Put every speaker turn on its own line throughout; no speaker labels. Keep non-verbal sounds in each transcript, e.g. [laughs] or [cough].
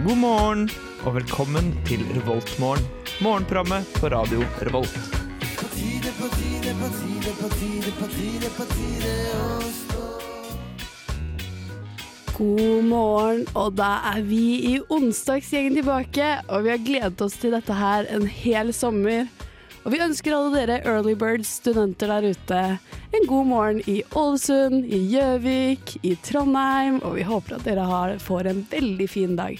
morgen, og velkommen til Revoltmorgen. Morgenprogrammet på radio Revolt.
God morgen, og da er vi i onsdagsgjengen tilbake. Og vi har gledet oss til dette her en hel sommer. Og vi ønsker alle dere early birds, studenter der ute, en god morgen i Ålesund, i Gjøvik, i Trondheim, og vi håper at dere har, får en veldig fin dag.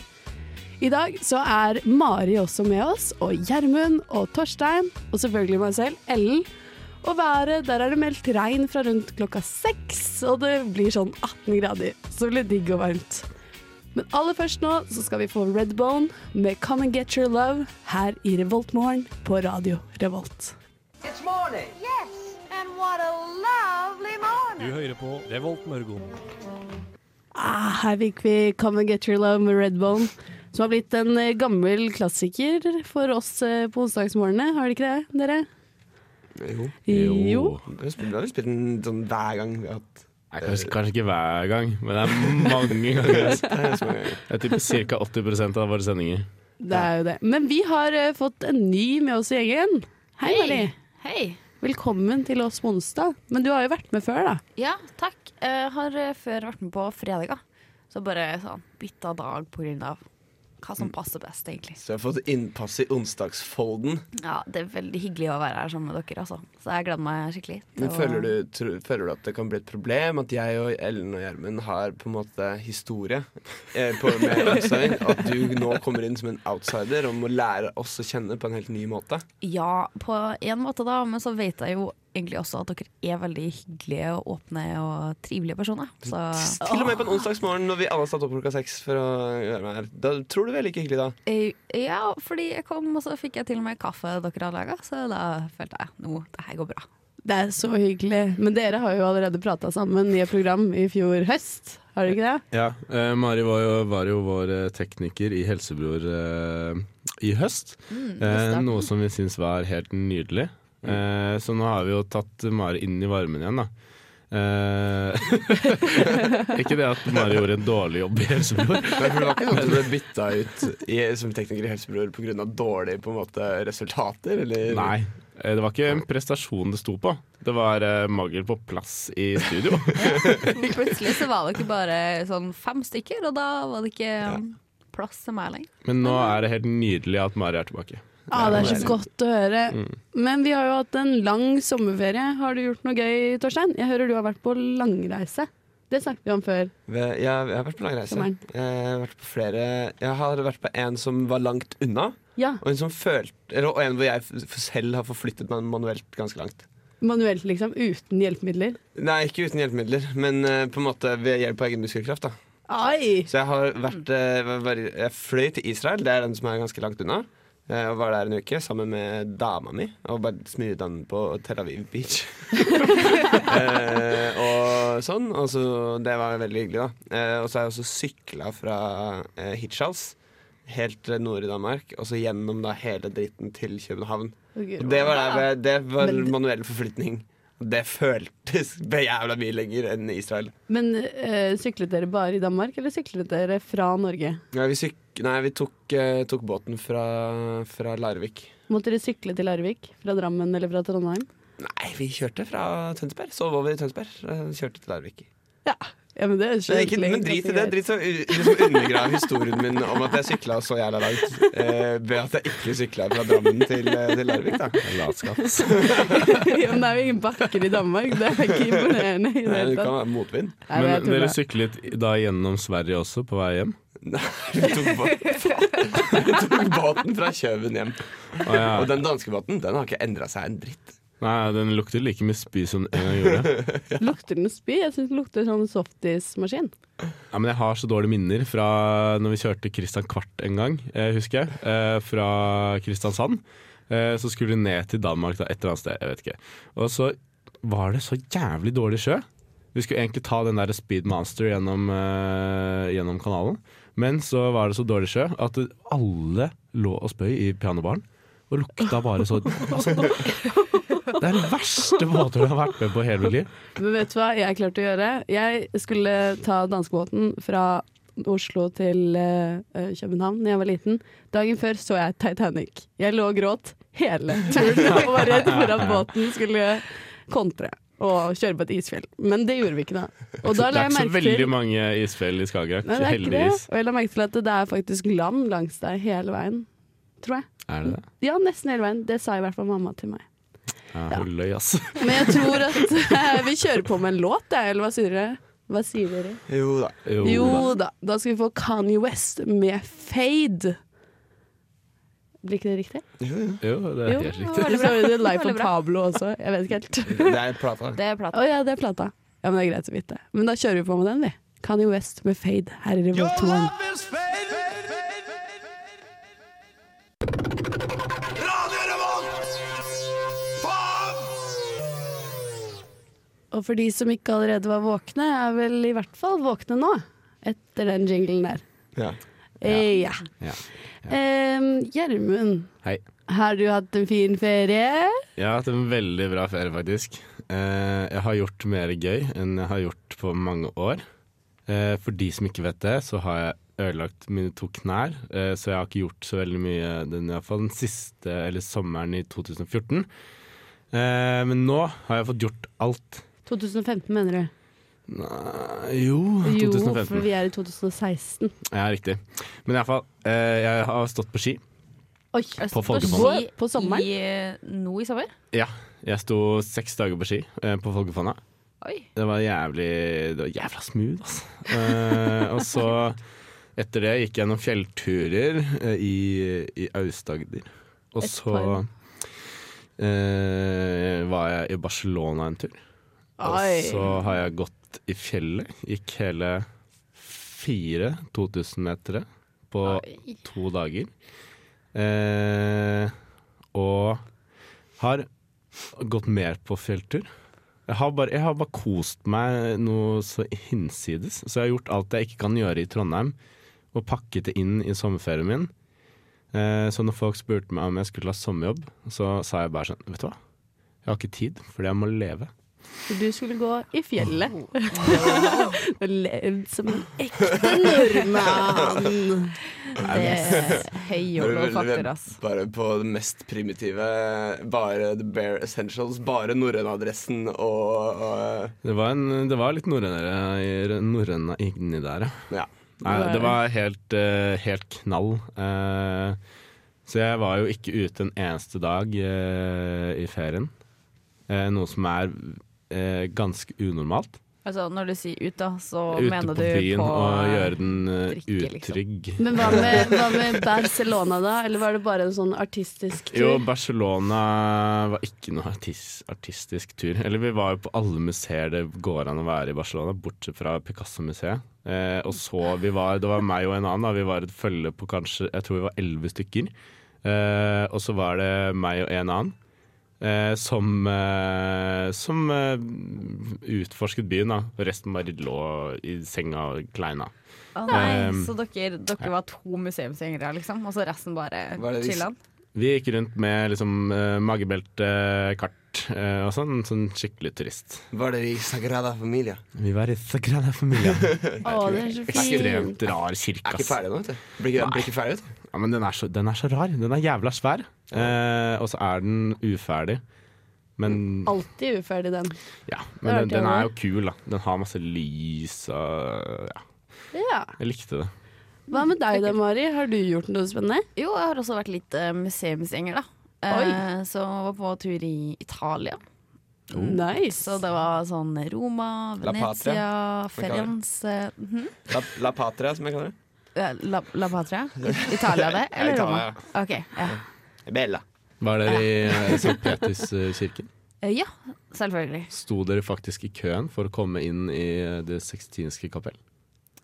I dag så er Mari også med oss, og Gjermund og Torstein, og selvfølgelig meg selv, Ellen. Og været, der er det meldt regn fra rundt klokka seks, og det blir sånn 18 grader. Så det blir digg og varmt. Men aller først nå så skal vi få Redbone med Come and Get Your Love her i Revoltmorgen på Radio Revolt.
It's morning.
Yes, and what a lovely morning.
Du hører på Revolt Mørgon.
Ah, her fikk vi Come and Get Your Love med Redbone, som har blitt en eh, gammel klassiker for oss eh, på onsdagsmorgenene, har det ikke det, dere?
Jo.
Jo.
Vi har spilt- vi har spilt den sånn hver gang vi har hatt
Kanskje, kanskje ikke hver gang, men [laughs] det er mange ganger. altså. Jeg tipper ca. 80 av våre sendinger.
Det er jo det. Men vi har eh, fått en ny med oss i gjengen. Hei, Mari.
Hei.
Velkommen til oss på onsdag. Men du har jo vært med før, da.
Ja, takk. Jeg har eh, før vært med på fredager. Så bare sånn bytta dag på grunn av hva
Mm.
som passer best, egentlig.
Så jeg har fått innpass i onsdagsfolden.
Ja, Det er veldig hyggelig å være her sammen med dere, altså. Så jeg gleder meg skikkelig.
Men føler du, tro, føler du at det kan bli et problem at jeg og Ellen og Gjermund har på en måte historie eh, på, [laughs] med onsdagen? At du nå kommer inn som en outsider og må lære oss å kjenne på en helt ny måte?
Ja, på en måte, da. Men så vet jeg jo egentlig også at dere er veldig hyggelige og åpne og trivelige personer. Så
Til og med på en onsdagsmorgen når vi alle har stått opp klokka seks for å gjøre meg her. Da tror du vel ikke hyggelig, da? [laughs]
Eh, Ja, fordi jeg kom, og så fikk jeg til og med kaffe dere hadde laga, så da følte jeg nå, det her går bra.
Det er så hyggelig. Men dere har jo allerede prata sammen i et program i fjor høst, har dere ikke det?
Ja, eh, Mari var jo, var jo vår eh, tekniker i Helsebror eh, i høst. eh, noe som vi syns var helt nydelig. Eh, så nå har vi jo tatt Mari inn i varmen igjen, da. Eh, [laughs] ikke det at Mari gjorde en dårlig jobb i Helsebror.
Nei, for det var ikke sånn at du ble bytta ut i, som tekniker i Helsebror pga. dårlige på en måte, resultater? Eller?
Nei. eh, Det var ikke en prestasjon det sto på. Det var eh, mangel på plass i studio.
[laughs] Plutselig så var dere bare sånn fem stykker, og da var det ikke um, plass til meg lenger.
Men nå er det helt nydelig at Mari er tilbake.
Ah, det er så godt å høre.
Mm.
Men vi har jo hatt en lang sommerferie. Har du gjort noe gøy, Torstein? Jeg hører du har vært på langreise. Det snakket vi om før.
Ve- Jeg, jeg har vært på lang reise.
Sommeren.
Jeg har Eh, vært på flere Jeg har vært på en som var langt unna,
Ja,
og en som følte eller- Og en hvor jeg f- selv har forflyttet meg manuelt ganske langt.
Manuelt, liksom. Uten hjelpemidler.
Nei, ikke uten hjelpemidler, men eh, på en måte ved hjelp av egen muskelkraft. da
Ai!
Så jeg har vært eh, var- var- Jeg fløy til Israel, det er den som er ganske langt unna. eh, Og var der en uke sammen med dama mi og bare smurte den på Tel Aviv Beach. [laughs] eh, og sånn. Og så, det var veldig hyggelig, da. Eh, og så har jeg også sykla fra eh, Hirtshals helt eh, nord i Danmark, og så gjennom da hele dritten til København.
Å, Gud.
Og det var, der, det var
Men-
manuell forflytning. Og det føltes jævla mye lenger enn Israel.
Men eh, syklet dere bare i Danmark, eller syklet dere fra Norge?
Nei, vi, syk nei, vi tok, eh, tok båten fra, fra Larvik.
Måtte dere sykle til Larvik? Fra Drammen eller fra Trondheim?
Nei, vi kjørte fra Tønsberg. Sov over i Tønsberg. eh, Kjørte til Larvik.
Ja. ja men, det er
Men, ikke,
egentlig
men drit
ganske
i det.
greit.
Drit så u- liksom undergrav historien min om at jeg sykla så jævla langt eh, ved at jeg ikke sykla fra Drammen til, eh, til Larvik. Da.
Latskap.
ja, men det er jo ingen bakker i Danmark. Det er ikke imponerende i det
[laughs] Nei,
hele
Eh, det kan
tatt.
være motvind.
[laughs] Nei, men jeg
Men
tuller.
dere syklet da gjennom Sverige også, på vei hjem?
Nei, vi tok, bå- [laughs] faen. vi tok båten fra Kjøven hjem.
Å, ja.
Og den danske båten den har ikke endra seg en dritt.
Nei, den lukter like mye spy som den en gang gjorde.
Lukter den spy? Jeg syns det lukter sånn softismaskin.
Ja, men jeg har så dårlige minner fra når vi kjørte Kristian Kvart en gang, eh, husker jeg. Eh, fra Kristiansand. Eh, så skulle vi ned til Danmark da, et eller annet sted, jeg vet ikke. Og så var det så jævlig dårlig sjø. Vi skulle egentlig ta den der Speedmaster gjennom, eh, gjennom kanalen. Men så var det så dårlig sjø at alle lå og spøy i pianobaren. Og lukta bare så altså, Det er den verste båten jeg har vært med på hele mitt liv.
Men vet du hva jeg klarte å gjøre? Jeg skulle ta danskebåten fra Oslo til eh, eh, København da jeg var liten. Dagen før så jeg Titanic. Jeg lå og gråt hele turen og var redd for at båten skulle kontre og kjøre på et isfjell. Men det gjorde vi ikke da. Og da la
Det er
jeg
ikke så
merke
veldig
til
mange isfjell i Skagerrak,
Nei, det er ikke det.
heldigvis.
Og jeg la merke til at det er faktisk land langs der hele veien, tror jeg.
Er det det?
Ja, nesten hele veien. Det sa i hvert fall mamma til meg.
Ja, Hold løy, [laughs] ass.
Men jeg tror at [laughs] eh, vi kjører på med en låt, jeg, eller hva sier dere? Hva sier dere?
Jo da.
Jo da. Da skal vi få Kanye West med Fade. Blir ikke det riktig?
Jo, det er
Jo.
helt riktig.
Eller så er [laughs] det Life of Pablo også. Jeg vet ikke helt.
Det er plata.
Det er
Å
plata.
ja, det er [laughs] plata. Ja, men det er greit å vite. Men da kjører vi på med den, vi. Kanye West med Fade her i Revolt One. Og for de som ikke allerede var våkne, er vel i hvert fall våkne nå. Etter den jinglen der.
Ja.
Eh, Ja.
Ja.
Em, Gjermund,
Hei.
har du hatt en fin ferie?
Jeg har hatt en veldig bra ferie, faktisk. Eh, jeg har gjort mer gøy enn jeg har gjort på mange år. Eh, for de som ikke vet det, så har jeg ødelagt mine to knær, eh, så jeg har ikke gjort så veldig mye den, i hvert fall den siste, eller sommeren i 2014. Eh, men nå har jeg fått gjort alt.
2015, mener du?
Nei, jo,
Jo, for
2015.
vi er i 2016.
Ja, riktig. Men iallfall, eh, jeg har stått på ski.
Oi,
På
På,
Folkepodden.
Ski
på sommeren?
I, eh, nå i sommer?
Ja, jeg sto seks dager på ski eh, på Folkefonna.
Oi.
Det var jævlig Det var jævla smooth, altså. Eh, og så etter det gikk jeg noen fjellturer eh, i, i Aust-Agder. Og
Et
så
par.
eh, var jeg i Barcelona en tur. Og så har jeg gått i fjellet. Gikk hele fire 2000-metere på
Oi.
to dager. Eh, og har gått mer på fjelltur. Jeg har, bare, jeg har bare kost meg noe så hinsides. Så jeg har gjort alt jeg ikke kan gjøre i Trondheim, og pakket det inn i sommerferien min. Eh, så når folk spurte meg om jeg skulle ha sommerjobb, så sa jeg bare sånn Vet du hva, jeg har ikke tid, fordi jeg må leve.
For du skulle gå i fjellet. [laughs] Og levd som en ekte nordmann.
Det er høy
Veldig-
yolo-faktor, ass.
Bare på det mest primitive. Bare the bare essentials. Bare norrønadressen og, og
Det var, en, det var litt norrønere i- norrøna inni der, ja.
Ja.
Nei,
Det var
det var helt, eh, helt knall. Eh, så jeg var jo ikke ute en eneste dag eh, i ferien. Eh, noe som er eh, ganske unormalt.
Altså, når du sier ut, da, så
ute
mener
på
du
byen
på
og gjøre den eh,
drikke, liksom.
utrygg.
Men hva med, hva med Barcelona, da? Eller var det bare en sånn artistisk
Jo,
tur?
Barcelona var ikke noe artis artistisk tur. Eller vi var jo på alle museer det går an å være i Barcelona, bortsett fra Picasso-museet. Eh, og så vi var, Det var meg og en annen, da. vi var et følge på kanskje Jeg tror vi var elleve stykker. Eh, og så var det meg og en annen. Eh, som eh, som eh, utforsket byen, da. Og resten bare lå i senga og kleina.
Å nei,
Um,
så dere, dere var to museumsgjengere, liksom? Og så resten bare
Hva er det vi-
chillan?
Vi gikk rundt med liksom, eh, magebelte, kart eh, og sånn. Sånn skikkelig turist.
Var det i Sagrada Familia?
Vi var i Sagrada Familia.
Å, det er så fint.
[laughs] Ekstremt rar kirke.
Jeg er ikke
ass.
ferdig nå, vet du. Blir ikke, blir ikke ferdig, vet du.
Ja, men den er, så, den er så rar. Den er jævla svær. Eh, og så er den uferdig. Men,
Alltid uferdig, den.
ja,
Det
men
hørte
den,
jeg
den er
også.
jo kul, da. Den har masse lys og ja,
Ja.
Jeg likte det.
Hva med deg da, Mari? Har du gjort noe spennende?
Jo, jeg har også vært litt eh, museumsgjenger, da. Eh, så jeg var på tur i Italia.
Nice.
Så det var sånn Roma,
La Patria,
Venezia,
man kaller det.
Firenze mhm.
La, La Patria, som jeg kaller det.
Eh, La, La Patria? I- Italia, det?
Ja,
Eller Roma?
Italia,
Ok, ja.
Bella.
Var dere i eh, St. Peterskirken?
Eh, ja, selvfølgelig.
Sto dere faktisk i køen for å komme inn i eh, Det sekstinske kapell?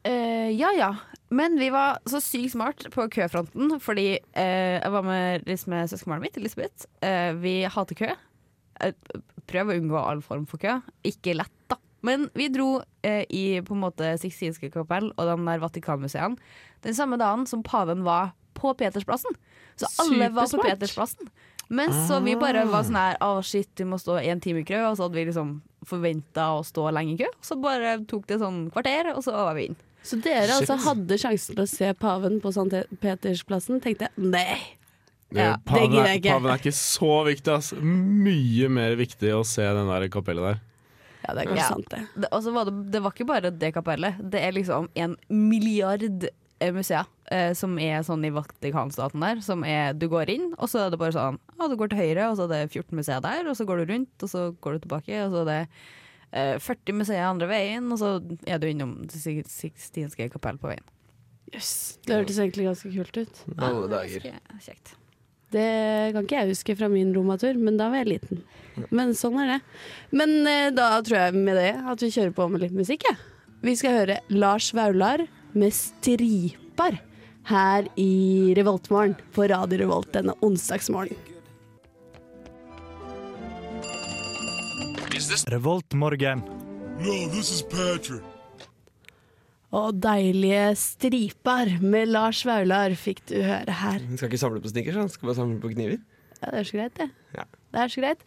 Eh, ja ja. Men vi var så sykt smart på køfronten, fordi eh, jeg var med, liksom, med søskenbarnet mitt, Elisabeth. Eh, vi hater kø. Eh, prøv å unngå all form for kø. Ikke lett, da. Men vi dro eh, i på en måte Sixtinske kapell og den der Vatikanmuseene den samme dagen som paven var på Petersplassen. Så alle var på
Supersmart.
Petersplassen. Men så vi bare var sånn her Å, shit, vi må stå én time i kø. Og så hadde vi liksom forventa å stå lenge i kø. Så bare tok det sånn kvarter, og så var vi inn.
Så dere altså
Shit.
hadde sjansen til å se paven på St. Petersplassen, tenkte jeg nei.
Ja,
det
paven,
gidder
er,
jeg ikke.
paven er ikke så viktig, ass. Mye mer viktig å se den der kapellet der.
Ja, det er kanskje
Ja.
sant, det.
Det, og så var det, det var ikke bare det kapellet. Det er liksom en milliard eh, museer eh, som er sånn i Vatikanstaten der. Som er Du går inn, og så er det bare sånn ah, Du går til høyre, og så er det 14 museer der. Og så går du rundt, og så går du tilbake, og så er det eh, 40 museer andre veien. Og så er du innom Det Sig- Sixtinske kapell på veien.
Jøss. Det hørtes egentlig ganske kult ut.
Alle dager.
Ganske Kjekt.
Det kan ikke jeg huske fra min romatur, men da var jeg liten. Men sånn er det. Men eh, da tror jeg med det at vi kjører på med litt musikk, jeg. Vi skal høre Lars Vaular med 'Striper' her i Revoltmorgen på Radio Revolt denne onsdagsmorgen.
Revoltmorgen.
Og deilige 'Striper' med Lars Vaular fikk du høre her.
Hun skal ikke samle på snickers, han skal bare samle på kniver.
Ja, det er så greit, det.
Ja.
Det er så greit.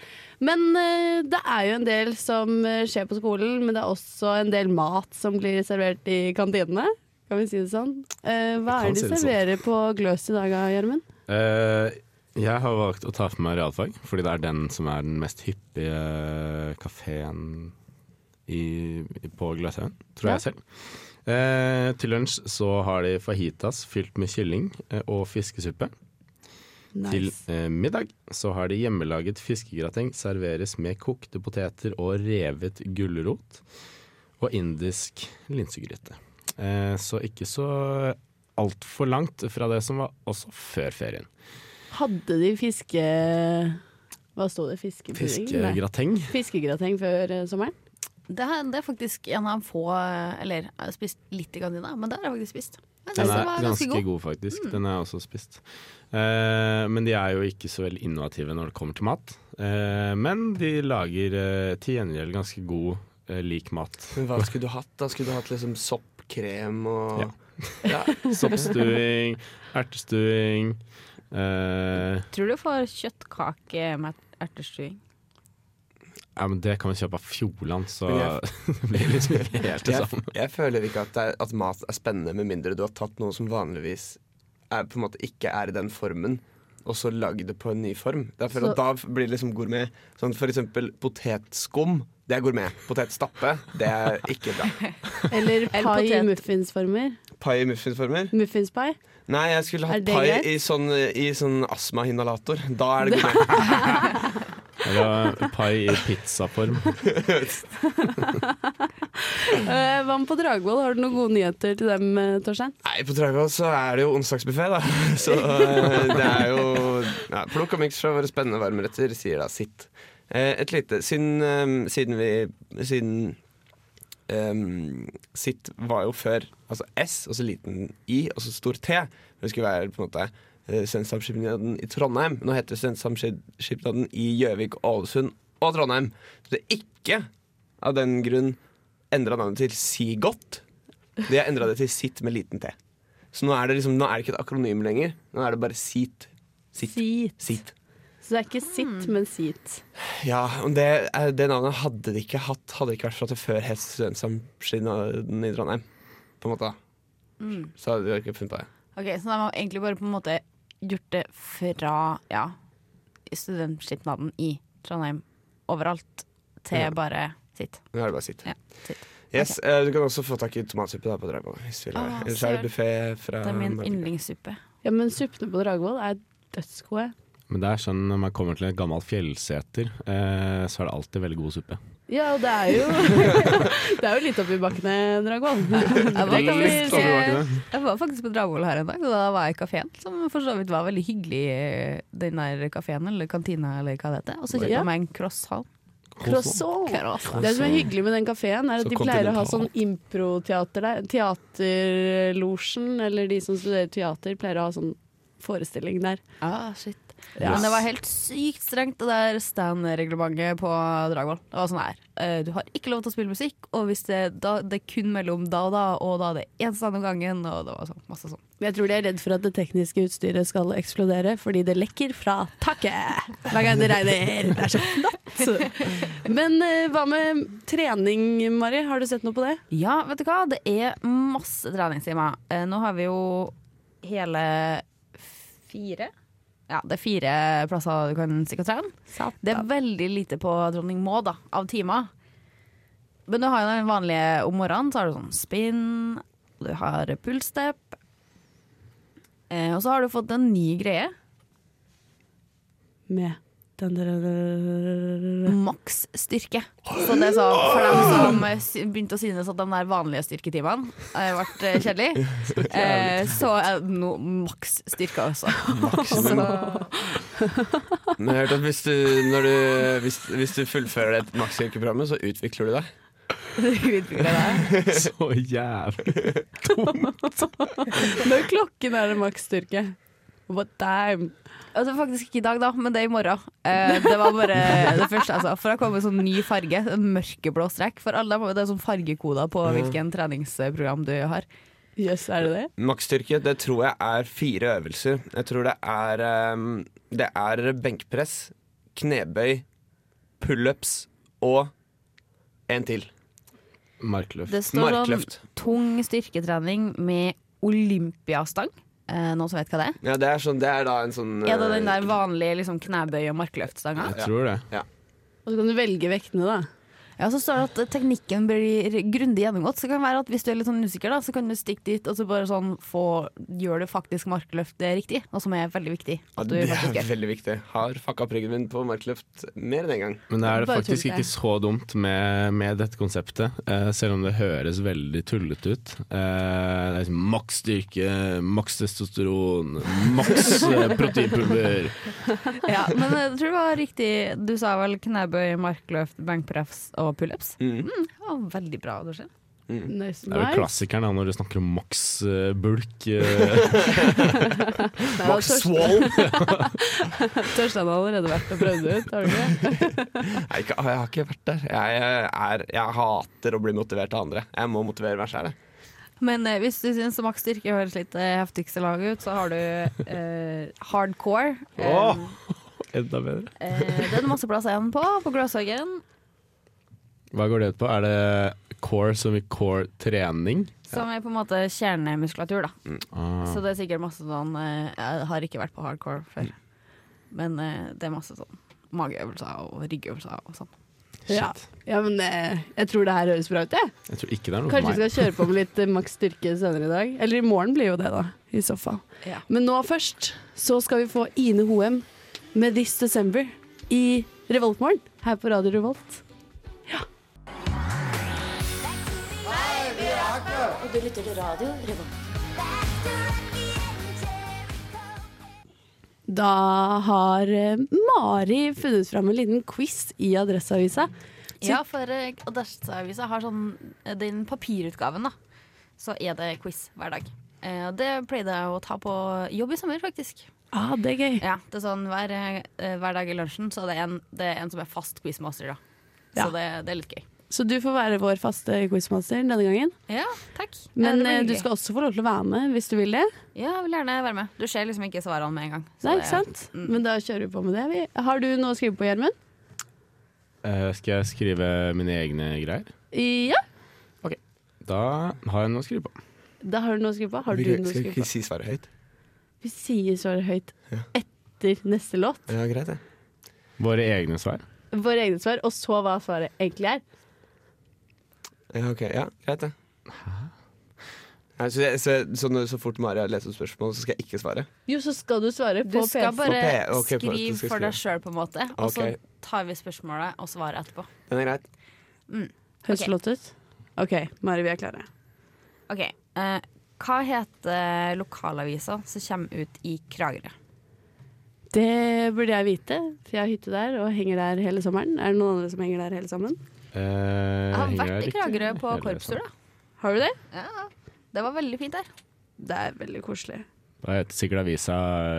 Men eh, det er jo en del som eh, skjer på skolen, men det er også en del mat som blir servert i kantinene. Kan vi si det sånn? Eh, hva er
Vi kan
det de
si det sånn.
serverer på Gløs i dag, Gjermund?
Eh, jeg har valgt å ta for meg realfag, fordi det er den som er den mest hyppige kafeen i, på Gløshaugen, tror
Ja.
jeg selv. Eh, til lunsj så har de fajitas fylt med kylling eh, og fiskesuppe.
Nice.
Til eh, middag så har de hjemmelaget fiskegrateng serveres med kokte poteter og revet gulrot. Og indisk linsegryte. Eh, så ikke så altfor langt fra det som var også før ferien.
Hadde de fiske... Hva sto det?
eh,
Fiskepudding? Nei.
Fiskegrateng.
Fiskegrateng før eh,
[laughs]
sommeren?
Det, her, det er faktisk en av få Eller jeg har spist litt i kantina, men der har jeg faktisk spist. Jeg
Den
synes
er
den var
ganske god, faktisk. Den har jeg også spist. Eh, men de er jo ikke så veldig innovative når det kommer til mat. Eh, men de lager eh, til gjengjeld ganske god, eh, lik mat.
[laughs] Men hva skulle du hatt? da? Skulle du hatt liksom soppkrem og
Ja.
[laughs]
Soppstuing, ertestuing eh,
Tror du får kjøttkake med ertestuing?
ja, men Det kan vi kjøpe av Fjordland, så
Men
det blir liksom ikke [laughs] helt det
Jeg,
samme.
jeg føler ikke at, det er, at mat er spennende med mindre du har tatt noe som vanligvis er, på en måte ikke er i den formen, og så lagd det på en ny form. Det er for
Så-
at da blir det liksom gourmet. Sånn for eksempel potetskum. Det er gourmet. Potetstappe, det er ikke
[laughs]
bra.
Eller pai i
potet.
muffinsformer?
Pai i muffinsformer?
Muffinspai?
Nei, jeg skulle
Er
hatt
det
pai
greit?
i sånn, i sånn astmainhalator. Da er
[laughs]
det gourmet.
Eller pai i pizzaform.
Eh, Hva med på Dragvoll? Har du noen gode nyheter til dem, eh, Torstein?
Nei, på Dragvoll så er det jo onsdagsbuffé, da. [laughs] Så eh, det er jo ja, Plukk og miks fra våre spennende varmretter, sier da sitt. Eh, Et lite Siden, eh, siden vi Siden eh, sitt var jo før altså S, og så liten I, og så stor T. Det skulle være på en måte eh, Studentsamskipnaden i Trondheim. Nå heter Studentsamskipnaden i Gjøvik, Ålesund og Trondheim. Så det er ikke av den grunn endra navnet til Sigot. De har endra det til sitt med liten t. Så nå er det liksom, nå er det ikke et akronym lenger. Nå er det bare sit. Sitt.
Sit.
Sitt.
Så det er ikke sitt, men sit.
Ja, og det, er- det navnet hadde de ikke hatt Hadde det ikke vært for at det før het Studentsamskipnaden i Trondheim. På en måte da.
Mm.
Så hadde de ikke funnet det.
Ok, Så de har egentlig bare på en måte gjort det fra ja, studentskipnaden i Trondheim overalt til
Ja.
bare sitt.
Nå er det bare sitt.
Ja, sitt.
Yes, eh, Du kan også få tak i tomatsuppe der på Dragvoll. hvis du vil ha det.
Ah,
Ellers er
søren.
det buffé fra
Det er min
Norge.
yndlingssuppe.
Ja, men suppene på Dragvoll er dødsgode.
Men det er sånn når man kommer til et gammelt fjellseter, eh, så er det alltid veldig god suppe.
Ja, og det er jo [laughs] Det er jo litt oppi bakkene, Dragvoll.
[laughs] Jeg var,
Litt
faktisk,
overraskende.
jeg var faktisk på Dragvoll her en dag, og da var jeg i kafeen, som for så vidt var veldig hyggelig, eh, den der kafeen eller kantina eller hva det heter. Og så kjøpte
Ja.
jeg meg en croissant.
Croissant.
Croissant.
Det som er hyggelig med den kafeen, er at
Så
de pleier å ha sånn
kontinental.
improteater der. Teaterlosjen, eller de som studerer teater, pleier å ha sånn forestilling der.
Ah, shit.
Ja.
Men det var helt sykt strengt, det der stand-reglementet på Dragvoll. Det var sånn her. eh, Du har ikke lov til å spille musikk, og hvis det, da, det er kun mellom da og da, og da er det én stand om gangen, og det var sånn, masse sånn.
Men Jeg tror de er redd for at det tekniske utstyret skal eksplodere fordi det lekker fra taket hver gang det regner. Det er så flott! Men eh, hva med trening, Mari? Har du sett noe på det?
Ja, vet du hva? Det er masse treningstimer. Eh, Nå har vi jo hele fire. Ja, det er fire plasser du kan sikkert trene. Det er veldig lite på Dronning Maud da, av timer. Men du har jo den vanlige om morgenen, så har du sånn spinn, og du har pulsstep. Eh, og så har du fått en ny greie.
Med den der
maksstyrke. Så det er sånn, for dem som eh, sy- begynte å synes at de der vanlige styrketimene eh, ble eh, kjedelig, eh, så er det no, maksstyrke altså. også. [laughs]
Maksimum. Men jeg har hørt at hvis du, når du, hvis, hvis du fullfører det maksstyrkeprogrammet, så utvikler du deg.
[laughs] Så jævlig.
Når klokken er det maksstyrke. What time?
Altså, faktisk ikke i dag, da, men det er i morgen. Eh, det var bare det første jeg sa. For det kom en sånn ny farge, en mørkeblå strekk. For alle dem, Det er sånn fargekoder på hvilken treningsprogram du har.
Jøss, er det det?
Maksstyrke det tror jeg er fire øvelser. Jeg tror det er, ehm, det er benkpress, knebøy, pullups og en til.
Markløft.
Det står sånn
Markløft.
tung styrketrening med olympiastang. Eh, noen som vet hva det er?
Ja, det er, sånn, det er da en sånn
Er det den
eh,
der vanlige liksom, knebøy- og markløftstanga?
Jeg tror det.
Og så kan du velge vektene, da.
Ja, så står det at eh, teknikken blir grundig gjennomgått. Så det kan være at Hvis du er litt sånn usikker, da, så kan du stikke dit og så bare sånn få Gjør du faktisk markløftet riktig, og som er veldig viktig.
ja,
At du
Det
faktisk
er
gjør.
veldig viktig. Har fucka opp ryggen min på markløft mer enn én en gang.
Men er det
Bare
faktisk
tullete.
ikke så dumt med, med dette konseptet, eh, selv om det høres veldig tullete ut. Eh, det er liksom maks styrke, maks testosteron,
[laughs]
maks eh, proteinpulver.
Ja, men jeg tror det var riktig. Du sa vel knebøy, markløft, benkpress og pullups?
Mm.
Ja, veldig bra. Du ser.
Nice,
Det er
nice.
jo klassikeren da, når du snakker om maks eh, bulk.
[laughs]
eh,
Nei, da,
Max
Torst-
swall!
[laughs] Torstein har allerede vært og prøvd det ut, har du ikke?
Nei, ikke- jeg har ikke vært der. Jeg, eh, er, jeg hater å bli motivert av andre. Jeg må motivere meg sjæl.
Men eh, hvis du syns maks styrke høres litt eh, heftigste lag ut, så har du eh, hardcore.
Åh!
Eh,
Enda bedre.
eh, det er det masse plass igjen på på Gløshaugen.
Hva går det ut på? Er det core som i core trening?
Som er på en måte kjernemuskulatur, da.
Ah,
Så det er sikkert masse sånn eh, Jeg har ikke vært på hardcore før, men eh, det er masse sånn mageøvelser og ryggøvelser og sånn.
shit.
Ja. Ja, men eh, jeg tror det her høres bra ut, jeg.
Jeg tror ikke det er noe
Kanskje vi
for meg.
skal kjøre på med litt eh, maks styrke senere i dag. Eller i morgen blir jo det, da. I så fall.
Ja.
Men nå først så skal vi få Ine Hoem med 'This December' i Revoltmorgen her på Radio Revolt.
Du lytter til radio Revolt.
Da har eh, Mari funnet fram en liten quiz i Adresseavisa.
Ja, for eh, Adresseavisa har sånn eh, den papirutgaven, da. Så er det quiz hver dag. Eh, og det pleide jeg å ta på jobb i sommer, faktisk.
Ah, det er gøy.
Ja, det er sånn hver, eh, hver dag i lunsjen så er det en, det er en som er fast quizmaster, da.
Ja.
Så det, det er litt gøy.
Så du får være vår faste quizmaster denne gangen.
Ja, takk. Eh,
Men
det blir
eh, du
gøy.
skal også få lov til å være med hvis du vil det.
Ja, jeg vil gjerne være med. Du ser liksom ikke svarene med en gang. Så
Nei,
det- mm.
ikke sant? Men da kjører vi på med det. vi. Har du noe å skrive på, Gjermund?
Eh, skal jeg skrive mine egne greier?
Ja,
Da har jeg noe å skrive på.
da har du noe å skrive på. Har du noe å skrive på?
si svaret høyt?
Vi sier svaret høyt etter neste låt.
Ja, greit, det.
Våre egne svar.
Våre egne svar, og så hva svaret egentlig er.
Ja, ok, ja, greit det. Nei, så, jeg, så, så, når, så fort Mari har lest opp spørsmålet, så skal jeg ikke svare?
Jo, så skal du svare
Du
på
skal
PC.
bare
På P- ok, på- du
skrive
skal
for deg
skrive.
sjøl, på en måte. Og
Ok.
så tar vi spørsmålet og svaret etterpå.
Den er greit.
Høres flott ut. OK, Mari, vi er klare.
Ok, eh, Hva heter lokalavisa som kommer ut i Kragerø?
Eh,
Det burde jeg vite, for jeg har hytte der og henger der hele sommeren. Er det noen andre som henger der hele sammen?
Eh,
Jeg har
henger
vært i
jeg
Kragerø
riktig?
på
Eller sånn.
korpstur, da.
Har du det?
Ja, det var veldig fint der.
Det er veldig koselig.
Da heter sikkert avisa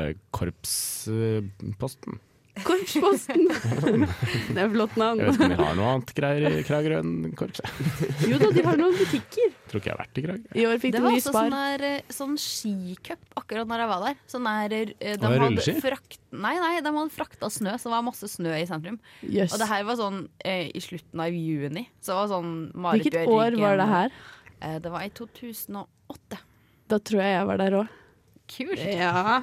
eh, Korpsposten. [laughs]
Korpsposten. Det er et flott
Jeg vet
navn.
ikke om de har noe annet greier i Kragerø enn korps. Jeg
Jo da, de har noen butikker.
tror ikke jeg har vært i Kragerø.
I år fikk
Det
de
var
ny
også
spar.
sånn, der, eh, sånn skicup akkurat når jeg var der. Sånn der eh, de
Å,
hadde
rulleski?
frakt, nei, nei, de hadde frakta snø, så det var masse snø i sentrum.
Jøss.
Og det her var sånn eh, i slutten av juni. Så det var sånn Marit
Hvilket
Bjørgen-
år var det her?
Eh, det var i 2008.
Da tror jeg jeg var der òg.
Kult.
Ja.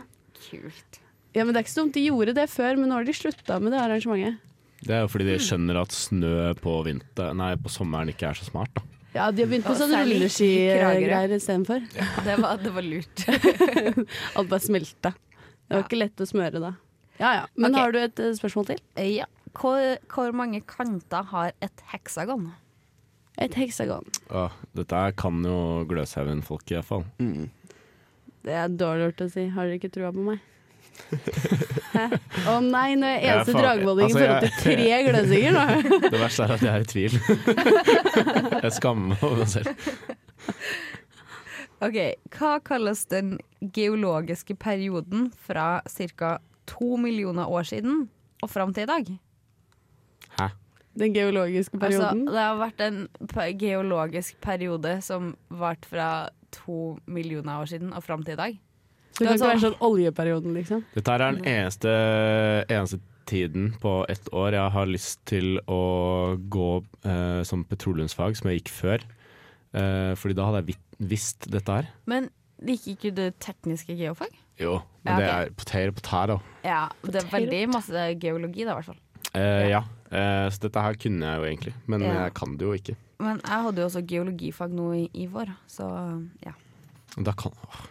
Kult.
ja, men det er ikke så dumt. De gjorde det før, men nå har de slutta med det arrangementet.
Det er jo fordi de
Mm.
skjønner at snø på, vinter, nei, på sommeren ikke er så smart. Da.
Ja, de har begynt på
Og
sånn
særlig i
rulleskigreier istedenfor.
Det var, det var lurt.
Alt bare smelta. Det var
Ja.
ikke lett å smøre da. Ja, ja. Men
Ok.
har du et eh, spørsmål til?
Eh, [laughs] ja. Hvor, hvor mange kanter har et heksagon?
Et heksagon.
Åh, dette her kan jo Gløshaugen-folket iallfall.
Det er dårlig gjort å si. Har dere ikke trua på
[laughs]
meg? Hæ? Å nei, nå er jeg
Jeg er
eneste
faen-
dragvollingen
altså,
i forhold
jeg-
til tre gløsinger nå.
Det verste er at jeg er i tvil. [laughs] Jeg skammer meg over meg selv.
Ok, Hva kalles den geologiske perioden fra ca. to millioner år siden og fram til i dag?
Hæ?
Den geologiske perioden.
Altså, det har vært en pe- geologisk periode som varte fra to millioner år siden og fram til i dag.
Så det kan ikke være sånn oljeperioden, liksom.
Dette her er den eneste, eneste tiden på ett år jeg har lyst til å gå eh, som petroleumsfag, som jeg gikk før. Eh, fordi da hadde jeg vit- visst dette her.
Men liker ikke du tekniske geofag?
Jo, men
Ja,
det
ok.
er poter poter, da.
Ja, det er veldig masse geologi da, i hvert fall.
Eh, ja, eh, så dette her kunne jeg jo egentlig, men
Ja.
jeg kan det jo ikke.
Men jeg hadde jo også geologifag nå i, i vår, så ja.
Og Da kan åh.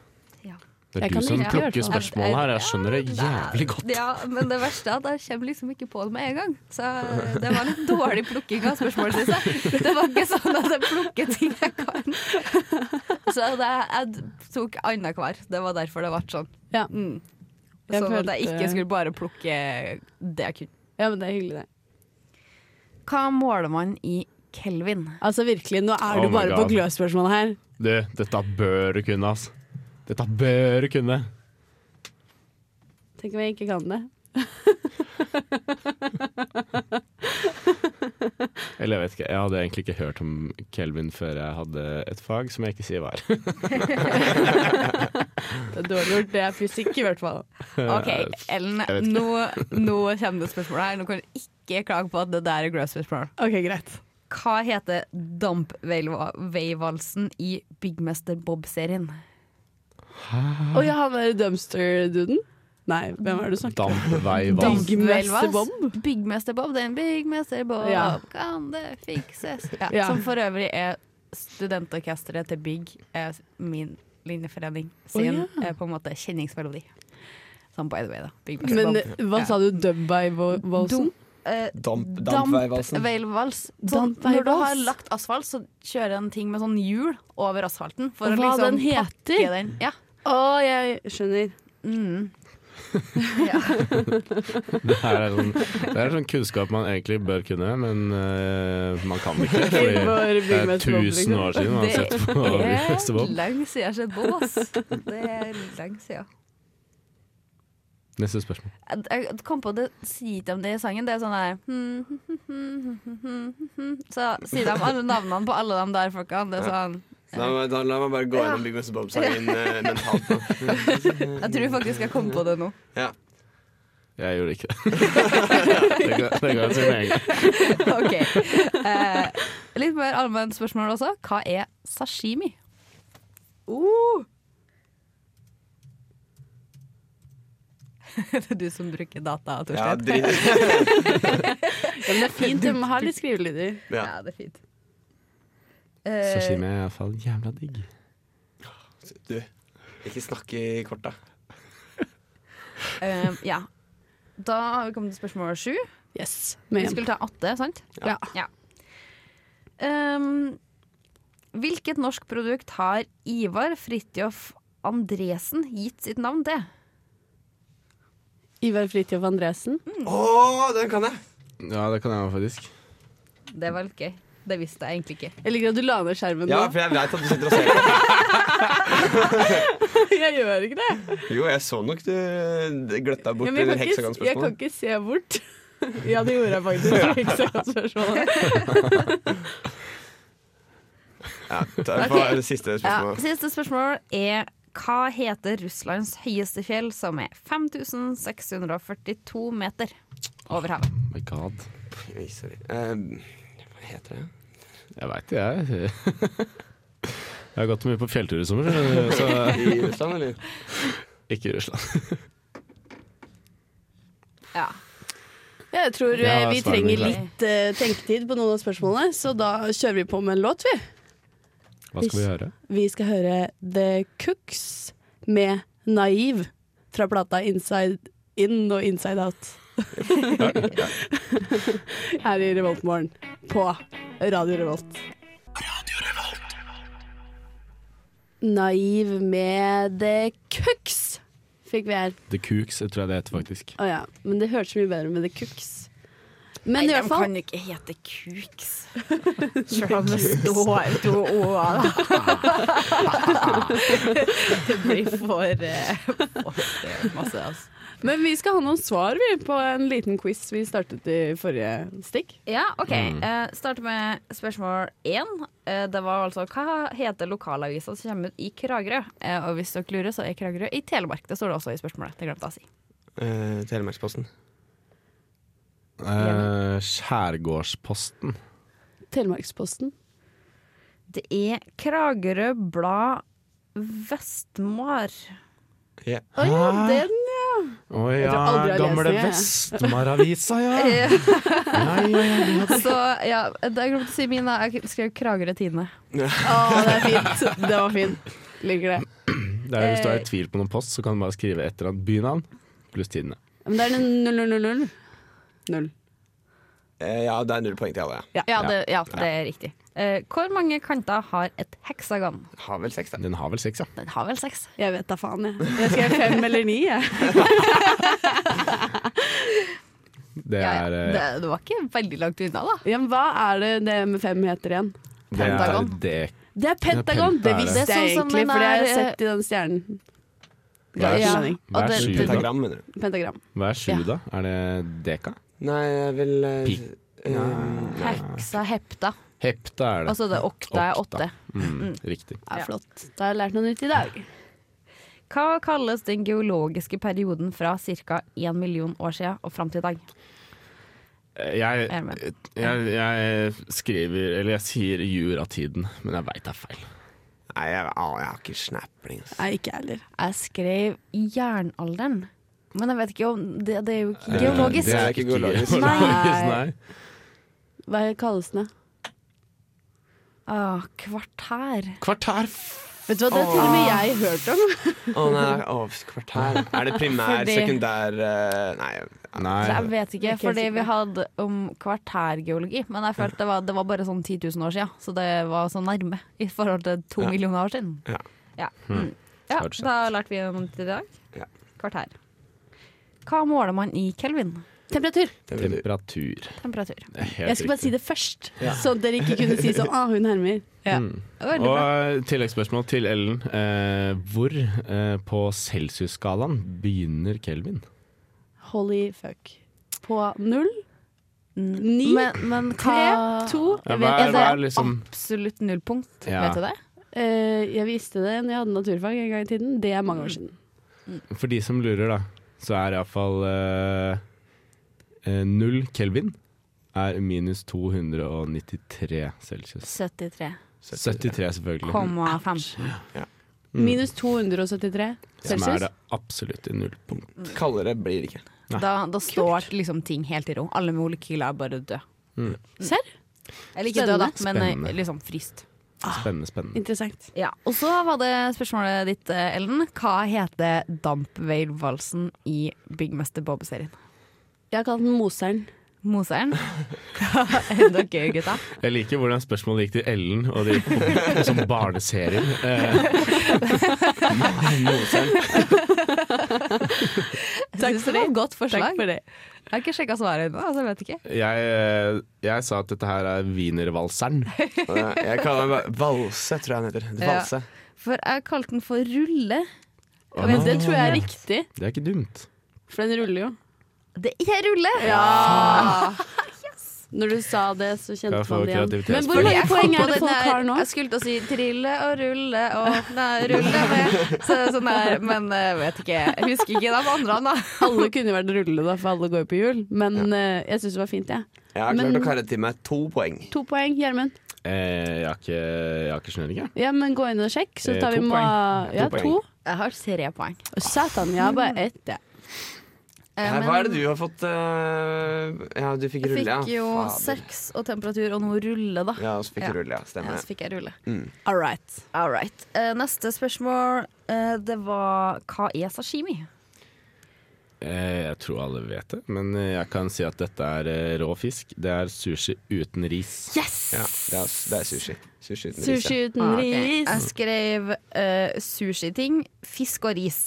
Ja.
Det
Jeg
er
kan
du som
like det, i hvert
plukker
fall.
spørsmålet her, jeg skjønner det jævlig godt.
Ja, men det verste er at jeg kommer liksom ikke på det med en gang. Så eh, det var litt dårlig plukking av spørsmål, syns jeg. Det var ikke sånn at jeg plukker ting jeg kan. Så det, jeg tok annenhver. Det var derfor det ble sånn.
Ja.
Mm.
Jeg
Sånn at jeg
følte-
ikke skulle bare plukke det jeg kunne.
Ja, men det er hyggelig, det.
Hva måler man i kelvin?
[laughs]
Altså virkelig, nå er
Oh
du
my
bare på
God.
glødspørsmålet her.
Du, dette bør du kunne, ass. Dette bør du kunne.
Tenk om jeg ikke kan det.
Eller jeg vet ikke, jeg hadde egentlig ikke hørt om Kelvin før jeg hadde et fag som jeg ikke sier hva er.
Det er dårlig gjort, det er fysikk i hvert fall.
OK, Ellen,
Jeg vet ikke.
nå, nå kommer det spørsmålet her. Nå kan du ikke klage på at det der er grøss-spørsmål.
Ok, greit.
Hva heter dampveivalsen i Byggmester Bob-serien?
Og ja, han er dumpster-duden? Nei, hvem er det du snakker om?
Dampveivals.
Damp- Byggmester Bob?
Byggmester Bob, det er en byggmester Bob,
Ja.
kan det fikses? Ja,
Ja.
Som for øvrig er studentorkesteret til Bygg, er min linjeforening
Å,
sin
ja.
eh, på en måte kjenningsmelodi. Sånn by the way, da. Byggmester
Men
Bob.
hva sa du, dubby-vosen?
Dum- eh,
Damp, dampveivalsen.
Dampveivals. Sånn,
Dampveivals.
når du har lagt asfalt, så kjører jeg en ting med sånn hjul over asfalten. For
Hva
å liksom
den heter?
pakke Den. Ja.
Å, jeg skjønner.
Mm.
Det her er sånn, det er sånn kunnskap man egentlig bør kunne, men eh, man kan
[laughs]
ikke. [laughs] Fordi
For
det er
Byggmester Bob, liksom.
tusen år siden man har
Det
sett på [laughs] Byggmester Bob.
lenge siden jeg har sett Bob, ass. Det er lenge siden.
Neste spørsmål.
Jeg- Jeg kom på det, sier de det i sangen? Det er sånn der hmm, hmm, hmm, hmm, hmm, hmm, hmm. Så sier de alle navnene på alle de der folkene. Det er sånn
Da, da, la meg bare gå gjennom Big Mr. Bob-sangen eh, mentalt.
[laughs]
nå.
Jeg tror faktisk jeg kom på det
[laughs]
nå.
Ja.
Jeg gjorde ikke det. [laughs] Det ga- Det ga sin egen.
OK. Eh, litt mer allment spørsmål også. Hva er sashimi? det er du som bruker data,
Ja, drit.
Torstein.
Ja, men det er fint, de har litt skrivelyder.
[laughs] Ja.
Ja, det er fint. Eh,
Sashimi er iallfall jævla digg.
Du, ikke snakk i korta.
Eh, ja. Da har vi kommet til spørsmål sju.
Yes.
Vi
Med
skulle ta åtte, sant?
Ja.
Ehm, hvilket norsk produkt har Ivar Fridtjof Andresen gitt sitt navn til?
Ivar Fridtjof Andresen.
Å, den kan jeg!
Ja, det kan jeg faktisk.
Det var litt gøy. Det visste jeg egentlig ikke.
Jeg liker at du la ned skjermen
Ja,
[laughs] nå.
for jeg veit at du sitter og ser på.
[laughs] Jeg gjør ikke det.
Jo, jeg så nok du det gløtta bort
Ja,
i
men jeg,
det
kan ikke, jeg kan
heksagonspørsmålet.
ikke se bort. [laughs] Ja, det gjorde jeg faktisk. Heksagonspørsmålet.
Ja, ta- få
Ok.
det siste
Ja,
spørsmålet.
siste spørsmål er hva heter Russlands høyeste fjell, som er 5642 meter over havet?
Oh My god.
Oi, sorry. Eh, hva heter det?
Jeg [laughs] veit det, jeg. Jeg har gått mye på fjelltur i sommer, så
I Russland,
[laughs]
eller?
ikke i Russland.
Ja.
Jeg tror
Ja,
eh, vi
svaret blir
trenger
klart.
litt eh, tenketid på noen av spørsmålene, så da kjører vi på med en låt, vi.
Hva skal vi gjøre?
Vi skal høre The Cooks med Naiv fra plata Inside In og Inside
[laughs]
Out. Her i Revoltmorgen på Radio Revolt. Naiv med The Cooks fikk vi her.
The Cooks, jeg tror jeg det heter faktisk.
Å ja, men det hørtes mye bedre med The Cooks. Men i
de
hvert fall
kan jo ikke hete [laughs] Kuks. Selv om det står to o-er, da. [laughs] det blir for, eh, for eh, masse, altså.
Men vi skal ha noen svar vi, på en liten quiz vi startet i forrige stikk.
Ja, OK. Eh, Starter med spørsmål én. Eh, det var altså hva heter lokalavisa som kommer ut i Kragerø? Eh, og hvis dere lurer, så er Kragerø i Telemark. Det står det også i spørsmålet. Det glemte jeg å si.
Eh, Telemarksposten.
Eh, Skjærgårdsposten.
Telemarksposten.
Det er Kragerø Blad Vestmar.
Å ja, den
Å
Jeg tror aldri
ja,
jeg har
gamle
lest
Vestmaravisa, ja.
Eh,
ja, ja, ja.
Så ja, det jeg glemte å si min. da. Jeg skrev Kragerø Tidende.
Å, det er fint. Det var fint. Liker det.
Det er, hvis du er i tvil på noen post, så kan du bare skrive et eller annet bynavn pluss tidene.
Men det er en null, null, null, null. Null.
Eh, ja, det er null poeng til alle. ja.
Ja, det, ja, det er riktig. Eh, hvor mange kanter har et heksagon?
Har vel seks, da.
Den har vel seks, ja.
Den har vel seks.
Jeg vet da faen, jeg. Jeg skrev fem eller ni, jeg.
Det
Ja,
er,
ja.
eh,
Det, det var ikke veldig langt unna, da.
Ja, men hva er det det med fem heter igjen?
det er
Pentagon.
dek...
Det er Pentagon! Det
Det er
visste
sånn
jeg
som
egentlig,
den
for det har jeg
er,
sett i den stjernen.
Hva er,
Ja.
sju- hva
Og
er
det-
sju, da?
Pentagram, mener du?
Pentagram.
Hva er sju,
Ja.
da? Er det deka?
Nei, jeg vil eh,
Pi.
eh,
Heksa, hepta.
Hepta er det.
Og så det okta Altså, er
Okta.
åtte.
Mm, riktig.
Ja,
Ja.
flott. Da har jeg lært noe nytt i dag.
Hva kalles den geologiske perioden fra ca. 1 million år siden og fram til i dag?
Jeg,
Er med.
jeg, jeg skriver Eller jeg sier juratiden, men jeg veit det er feil.
Nei, jeg, å, jeg har ikke snapling. ass.
Nei, ikke jeg heller.
Jeg skrev jernalderen. Men jeg vet ikke om Det, det er jo ikke
Det-
geologisk.
Eh, Det er
ikke
ikke
geologisk.
geologisk,
Nei.
nei.
Hva kalles den? da?
Ah, kvartær.
Kvartær f-
Vet du hva, det har til og med jeg hørt om.
Å nei, å, kvartær. [laughs] Er det primær,
Fordi-
sekundær eh, Nei.
Så jeg
Nei.
vet ikke,
helt
fordi
sikker.
vi hadde om kvartærgeologi. Men jeg følte det var, det var bare sånn 10 000 år siden, så det var så nærme i forhold til to millioner år siden.
Ja.
Ja.
Hmm.
Mm. ja,
Klart sett.
da lærte vi noe til i dag.
Ja.
Kvartær. Hva måler man i kelvin?
Temperatur.
Det betyr-
Temperatur.
Temperatur.
Det er helt
Jeg skulle bare si
riktig.
det først, sånn at dere ikke kunne si sånn Å, hun hermer. Ja.
Veldig bra.
Og eh, tilleggsspørsmål til Ellen. Eh, hvor eh, på celsius-skalaen begynner Kelvin?
Holy fuck. På null, ni,
Men, men hva
tre, to
Ja,
Jeg
hva
vet
er- hva
ikke.
er liksom
Absolutt nullpunkt,
Ja.
vet du det?
Eh, jeg visste det når jeg hadde naturfag en gang i tiden. Det er mange år siden.
Mm. For de som lurer, da, så er iallfall eh, eh, null kelvin er minus 293 celsius.
73,15.
73 selvfølgelig.
Minus 273
Mm. Som er
celsius.
det absolutte nullpunkt.
Kaldere blir det ikke.
Da, da står liksom ting helt i ro. Alle molekyler er bare døde.
Mm.
Serr?
Eller ikke døde, da, men eh,
Spennende.
liksom fryst.
Spennende, spennende.
Interessant.
Ja, Og så var det spørsmålet ditt, eh, Ellen. Hva heter dampveilvalsen i Byggmester Bob-serien?
Jeg har kalt den Moseren.
Moseren? Hva er dere, gutta?
Jeg liker hvordan spørsmålet gikk til Ellen og de [laughs] som barneserien. Eh,
Jeg syns det var et godt forslag.
for det.
Jeg har ikke sjekka svaret ennå, så jeg vet ikke.
jeg, eh, jeg sa at dette her er wienervalseren.
Eh, Jeg kaller den Valse, tror jeg den heter. Valse.
For jeg kalte den for rulle.
Å,
Men
nei,
det tror jeg er riktig,
det er ikke dumt.
for den ruller jo.
Det er rulle!
Når du sa det, så kjente
Jeg får
man det igjen.
kreativitetspoeng.
Men hvor mange
Jeg
poeng
kom
er
på
det
den
folk
der-
har nå?
Jeg skulle til å si trille og rulle og nei, rulle med. Så, sånn der, men eh, vet ikke. Jeg husker ikke de andre, da.
Alle kunne vært rulle, da, for alle går jo på jul. Men eh, jeg syns det var fint, jeg. Ja.
Jeg har
Men-
klart å karre til meg to poeng.
To poeng, Gjermund.
Eh, jeg har ikke, jeg har ikke snøring, jeg.
Ja, men gå inn og sjekk, så
Eh,
tar
to
vi ma...
poeng.
Ja,
To poeng.
to.
Jeg har tre poeng.
Satan, jeg har bare ett, jeg.
Eh,
Her,
men
hva er det du har fått eh, Ja, du fikk
Jeg
rulle, ja.
fikk jo
Fader.
sex og temperatur og noe rulle, da.
Ja, så fikk
Ja.
du rulle, ja.
Ja,
Stemmer.
så fikk jeg rulle.
All right.
All right. Eh, neste spørsmål, eh, det var hva er sashimi?
Eh, jeg tror alle vet det, men eh, jeg kan si at dette er eh, rå fisk. Det er sushi uten ris.
Yes!
Ja, det er, det er sushi. Sushi uten ris. ja.
Sushi
Mm.
uten ris.
Jeg skrev eh, sushiting, fisk og ris.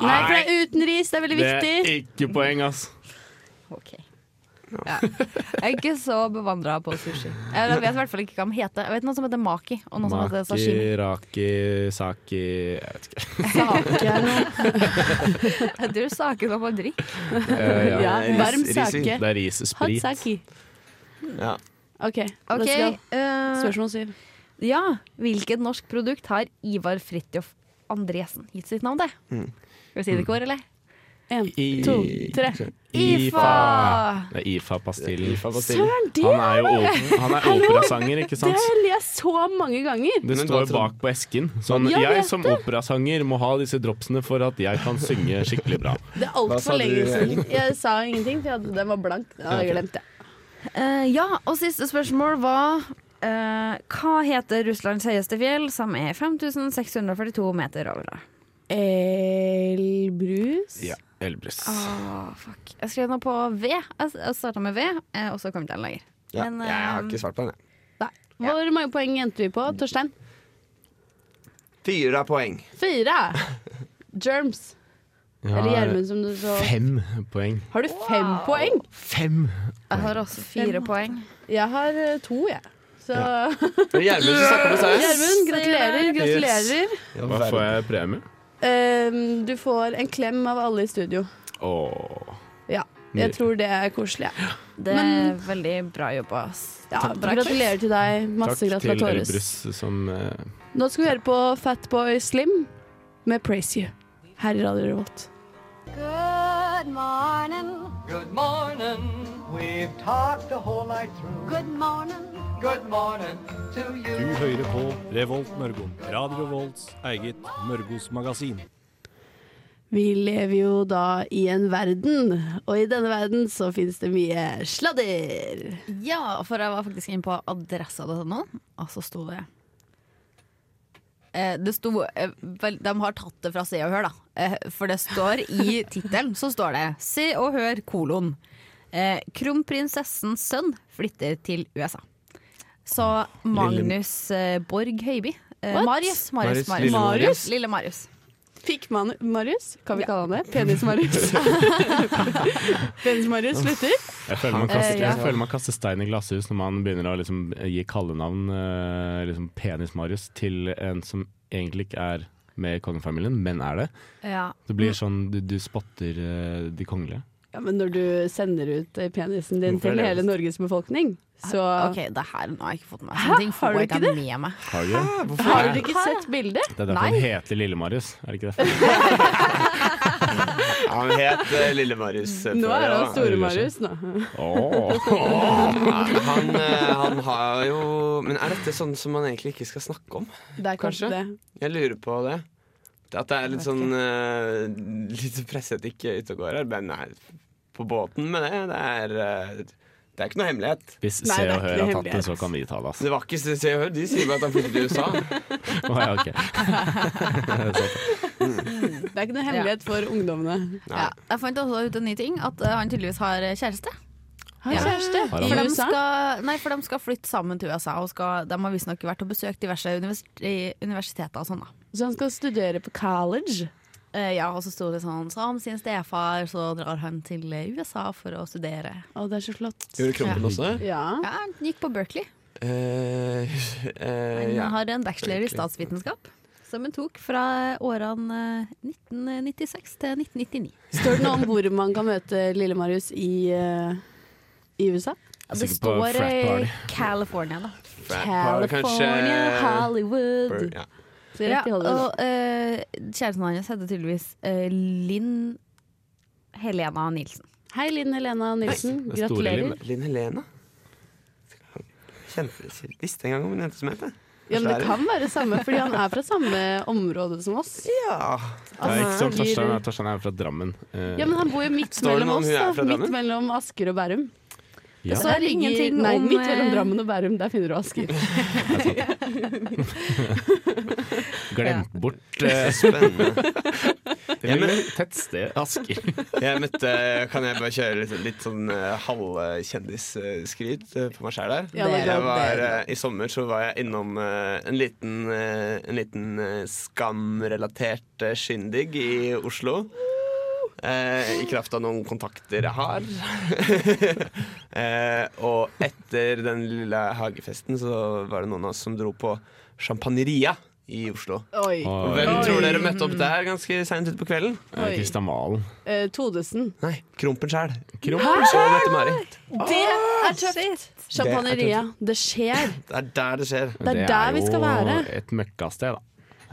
Nei, for det er uten ris, det er veldig
Det er
viktig.
ikke poeng, ass.
Ok. Ja. Jeg er ikke så bevandra på sushi. Jeg vet i hvert fall ikke hva den heter. Jeg vet noe som heter maki, og noe som heter
Maki,
sashimi.
raki, saki Jeg vet ikke.
[laughs]
Sake er noe.
Du saker noe man drikker.
Eh, ja.
[laughs] Ja,
ris-
varm
ris i.
sake.
Det er ris.
Hot
Sprit.
sake.
Ja.
OK, let's go.
Ok, eh,
Spørsmål syv.
ja. Hvilket norsk produkt har Ivar Fridtjof Andresen gitt sitt navn til?
Mm.
Skal vi si det i kor, eller?
Én,
I-
to, tre.
Mm.
IFA!
Det er IFA-pastillen.
Søren, det
Han er jo op- han er
Hallo!
operasanger, ikke
Det
sant?
har jeg lest så mange ganger.
Det
Men
står
hva tror-
bak på esken. Sånn,
Ja, jeg
jeg
vet
som operasanger må ha disse dropsene for at jeg kan synge skikkelig bra.
Det er
Hva sa
altfor
du,
lenge siden.
Ellen?
Jeg sa ingenting, for jeg hadde- den var blank. Det hadde jeg glemt, jeg.
Eh, ja, og siste spørsmål var eh, Hva heter Russlands høyeste fjell, som er 5642 meter over havet?
Elbrus?
Ja, Elbrus.
Ah,
Åh, fuck. Jeg skrev noe på V. Jeg jeg starta med V, eh, og så kom jeg ikke den lenger.
Ja,
Men,
jeg har
eh,
ikke svart på den, jeg.
Nei. Hvor mange poeng endte vi på, Torstein?
Fire poeng.
Fire! Germs.
Jeg
Eller
har
Gjermund, som du så.
fem poeng.
Har du fem poeng?
Fem!
Jeg har også fire poeng.
Jeg har eh, to, jeg. Så
Det er Gjermund som snakker med seg.
Gjermund, gratulerer. gratulerer.
Hva får jeg i premie?
Ehm, du får en klem av alle i studio.
Åh.
Ja. Jeg tror det er koselig. jeg.
Det er veldig bra jobba. ass.
Ja, gratulerer til deg. Masse
Takk til Elbrus
gratulatores.
som eh,
Nå skal vi høre på Fatboy Slim med 'Praise You' her i Radio Revolt.
Good morning.
Good morning. We've talked the whole night through.
Good morning.
Good morning to you.
Du hører på Revolt Mørgon. Radio Revolts eget Mørgos magasin.
Vi lever jo da i en verden, og i denne verden så finnes det mye sladder.
Ja, for jeg var faktisk inne på adressa til noen, og så sto det Eh, det sto, eh, vel, de har tatt det fra Se og Hør, da. Eh, for det står
[laughs]
i tittelen så står det 'Se og Hør kolon'. Eh, Kronprinsessens sønn flytter til USA. Så Magnus eh, Borg Høiby eh,
What?
Marius. Marius,
Marius, lille
Marius.
Lille Marius.
Fikk man Marius? Kan vi kalle han det? Penis-Marius. Penis-Marius slutter.
jeg, føler man kaster,
ja.
jeg føler man kaster stein i glasshus når man begynner å liksom, gi kallenavn, eh, liksom Penis-Marius, til en som egentlig ikke er med i kongefamilien, men er det.
Ja.
Det
Mm.
blir sånn du, du spotter eh, de kongelige.
Ja, men når du sender ut eh, penisen din
Hvorfor er
til
det?
hele Norges befolkning, så
Ah, OK, det her nå har jeg ikke fått med meg. Sånne ting
Har
får
du
jeg
ikke
ikke
det?
med meg.
Har du det?
Har du ikke sett bildet?
Det er derfor
Nei.
han heter Lille-Marius, er det ikke det?
[laughs]
Ja, Han het eh, Lille-Marius. eh,
Nå
før,
er han
ja.
Store-Marius, nå. [laughs]
Nei, Han, eh, han har jo Men er dette sånn som man egentlig ikke skal snakke om?
Det er kanskje
Kanskje?
det.
Jeg lurer på det. At det er litt
Jeg vet
sånn eh, Litt presseetikk ute og går her. Men nei, på båten med det, det er eh, Det er ikke noe hemmelighet.
Hvis
Nei,
Se
det er
og
ikke
Hør
noe
har tatt det, så
hemmelighet.
kan vi ta det. altså. ass.
Det var ikke Se og Hør, de sier bare at han flyttet til USA.
Å, ja, ok.
Det er ikke noe hemmelighet for ungdommene.
Ja. Jeg fant også ut en ny ting, at eh, han tydeligvis har eh, kjæreste.
Har
Ja.
kjæreste
Har
i
For de,
USA.
skal, nei, for de skal flytte sammen til USA, og skal, de har visstnok vært og besøkt diverse univers i- universiteter og sånn. da.
Så han skal studere på college.
Eh, ja, Og så sto det sånn Som sin stefar, så drar han til eh, USA for å studere.
Å, det er så flott.
Gjorde Krompen også eh? det?
Ja.
Ja, Han gikk på Berkeley.
Eh, eh,
Han
ja.
har en bachelor i statsvitenskap. som en tok fra årene eh, 1996 til 1999.
Står det noe om hvor man kan møte Lille Marius i, eh, i USA?
Ja,
Jeg er
Det
sikker på
står
frat
eh,
party.
California, da.
Frat party,
California, Hollywood.
Ja.
Så rett i Hollywood.
og eh, kjæresten hans heter tydeligvis eh, Linn Helena Nilsen.
Hei, Linn Helena Nilsen.
det er store
Gratulerer.
Linn, det.
Linn Helena? Kjente, visste engang om en jente som het det.
Ja, men det kan være samme, fordi han er fra samme område som oss.
Ja.
Det er ikke som
Altså,
Torstein,
blir-
er- Torstein er fra Drammen. Eh,
Ja, men han bor jo midt
Står
mellom
det noe om
oss,
hun er
da.
fra
Midt
Drammen?
mellom Asker og Bærum.
Ja.
Så der
Det er
ligger-
ingenting
Nei,
om,
midt mellom
eh,
Drammen og Bærum, der finner du Asker.
Glemt bort.
Spennende.
Det
[laughs] Ja,
er
men-
et [laughs] tett sted.
[laughs]
Asker.
Jeg møtte Kan jeg bare kjøre litt, litt sånn eh, halvkjendisskryt eh, på meg sjæl der?
Ja, det er
jeg
bra.
var, eh, I sommer så var jeg innom eh, en liten, eh, en liten eh, skamrelatert eh, skyndig i Oslo. Eh, I kraft av noen kontakter jeg har. [laughs] eh, og etter den lille hagefesten så var det noen av oss som dro på Champagneria i Oslo.
[laughs] Oi.
Og
Hvem
Oi.
tror dere møtte opp der ganske seint utpå kvelden?
eh, Kristian Valen.
Eh, Todesen.
Nei, Krompen sjæl.
Krumpen.
Og Mette-Mari.
Det er tøft! Champagneria. Det skjer.
Det er der det skjer.
Det er der vi skal være.
jo et møkkasted, da.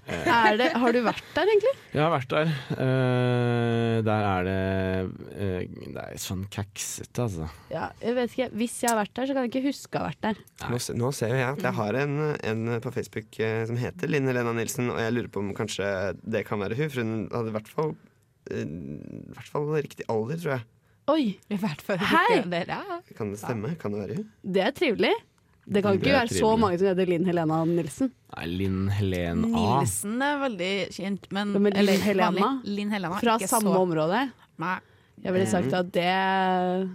Er det, har du vært der, egentlig?
Jeg har vært der. Eh, der er det eh, Det er sånn kaksete, altså.
Ja, jeg vet ikke. Hvis jeg har vært der, så kan jeg ikke huske å ha vært der.
Nå, se- nå ser jo jeg at jeg har en, en på Facebook eh, som heter Linn Helena Nilsen, og jeg lurer på om kanskje det kan være hun, for hun hadde i hvert fall eh, i hvert fall riktig alder, tror jeg.
Oi,
I hvert fall
Hei!
Kan det stemme? Kan det være hun?
det er trivelig. Det kan
Det
ikke
er
være så
trivelig.
mange som heter Linn Helena Nilsen.
Nei, Linn Helen A.
Nilsen er veldig kjent, men
Ja, men Linn
eller,
Helena?
vanlig. Linn Helena
Fra
ikke
samme
så-
område.
Nei.
Jeg ville sagt at det
Det er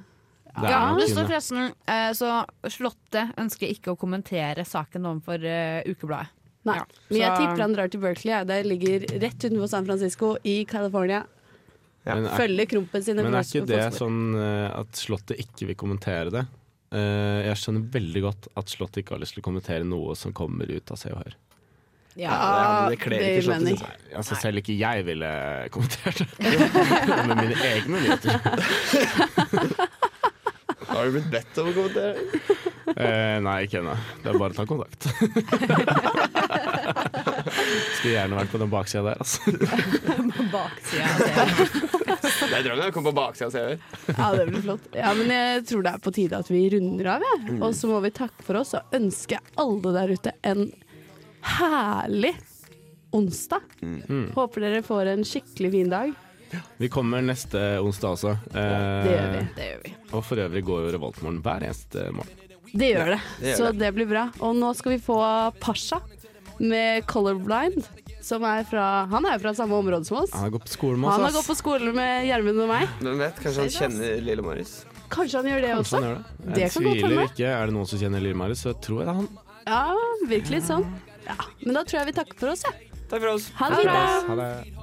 Ja,
nok
det står
henne.
forresten eh, Så Slottet ønsker ikke å kommentere saken overfor eh, ukebladet.
Nei.
Ja,
Men jeg
så-
tipper han drar til Berkeley. ja. Det ligger rett utenfor San Francisco i California.
Men er-
Følger Krompen sine
Men er
fos-
ikke det
fotspor.
sånn eh, at Slottet ikke vil kommentere det? Eh, jeg skjønner veldig godt at Slottet ikke har lyst til å kommentere noe som kommer ut av Se og Hør.
Ja,
det kler
det
ikke slottet,
mener jeg.
synes jeg.
Altså, selv ikke jeg ville kommentert det [laughs] med mine egne nyheter.
Har du blitt bedt om å kommentere?
Eh, nei, ikke ennå. Det er bare å ta
[laughs]
kontakt. Skulle gjerne vært på den baksida der, altså.
Det er drømmen å komme på baksida av CV.
Ja, det blir flott. Ja, men jeg tror det er på tide at vi runder av, jeg.
Mm.
Og så må vi takke for oss og ønske alle der ute en herlig onsdag. Håper dere får en skikkelig fin dag.
Mm. Vi kommer neste onsdag også. Eh,
Det gjør vi.
Det gjør vi.
Og for øvrig går jo Revoltmorgen hver eneste morgen.
Det gjør det.
det gjør
så
det.
det blir bra. Og nå skal vi få Pasha med Colorblind. Som er fra, han er jo fra samme område som oss.
Han har gått på skolen med
Han har
oss,
gått på skole med Gjermund og meg.
Hvem vet, kanskje han kjenner Lille Marius?
Kanskje han gjør det
Kanskje
også?
han Sånn gjør det. Jeg
Det kan godt
tviler
hende.
ikke. Er det noen som kjenner Lille Marius, så tror jeg det er han.
Ja, virkelig sånn. Ja. Men da tror jeg vi takker for oss, jeg. Ja.
Takk for oss.
Ha det bra.
Ha det.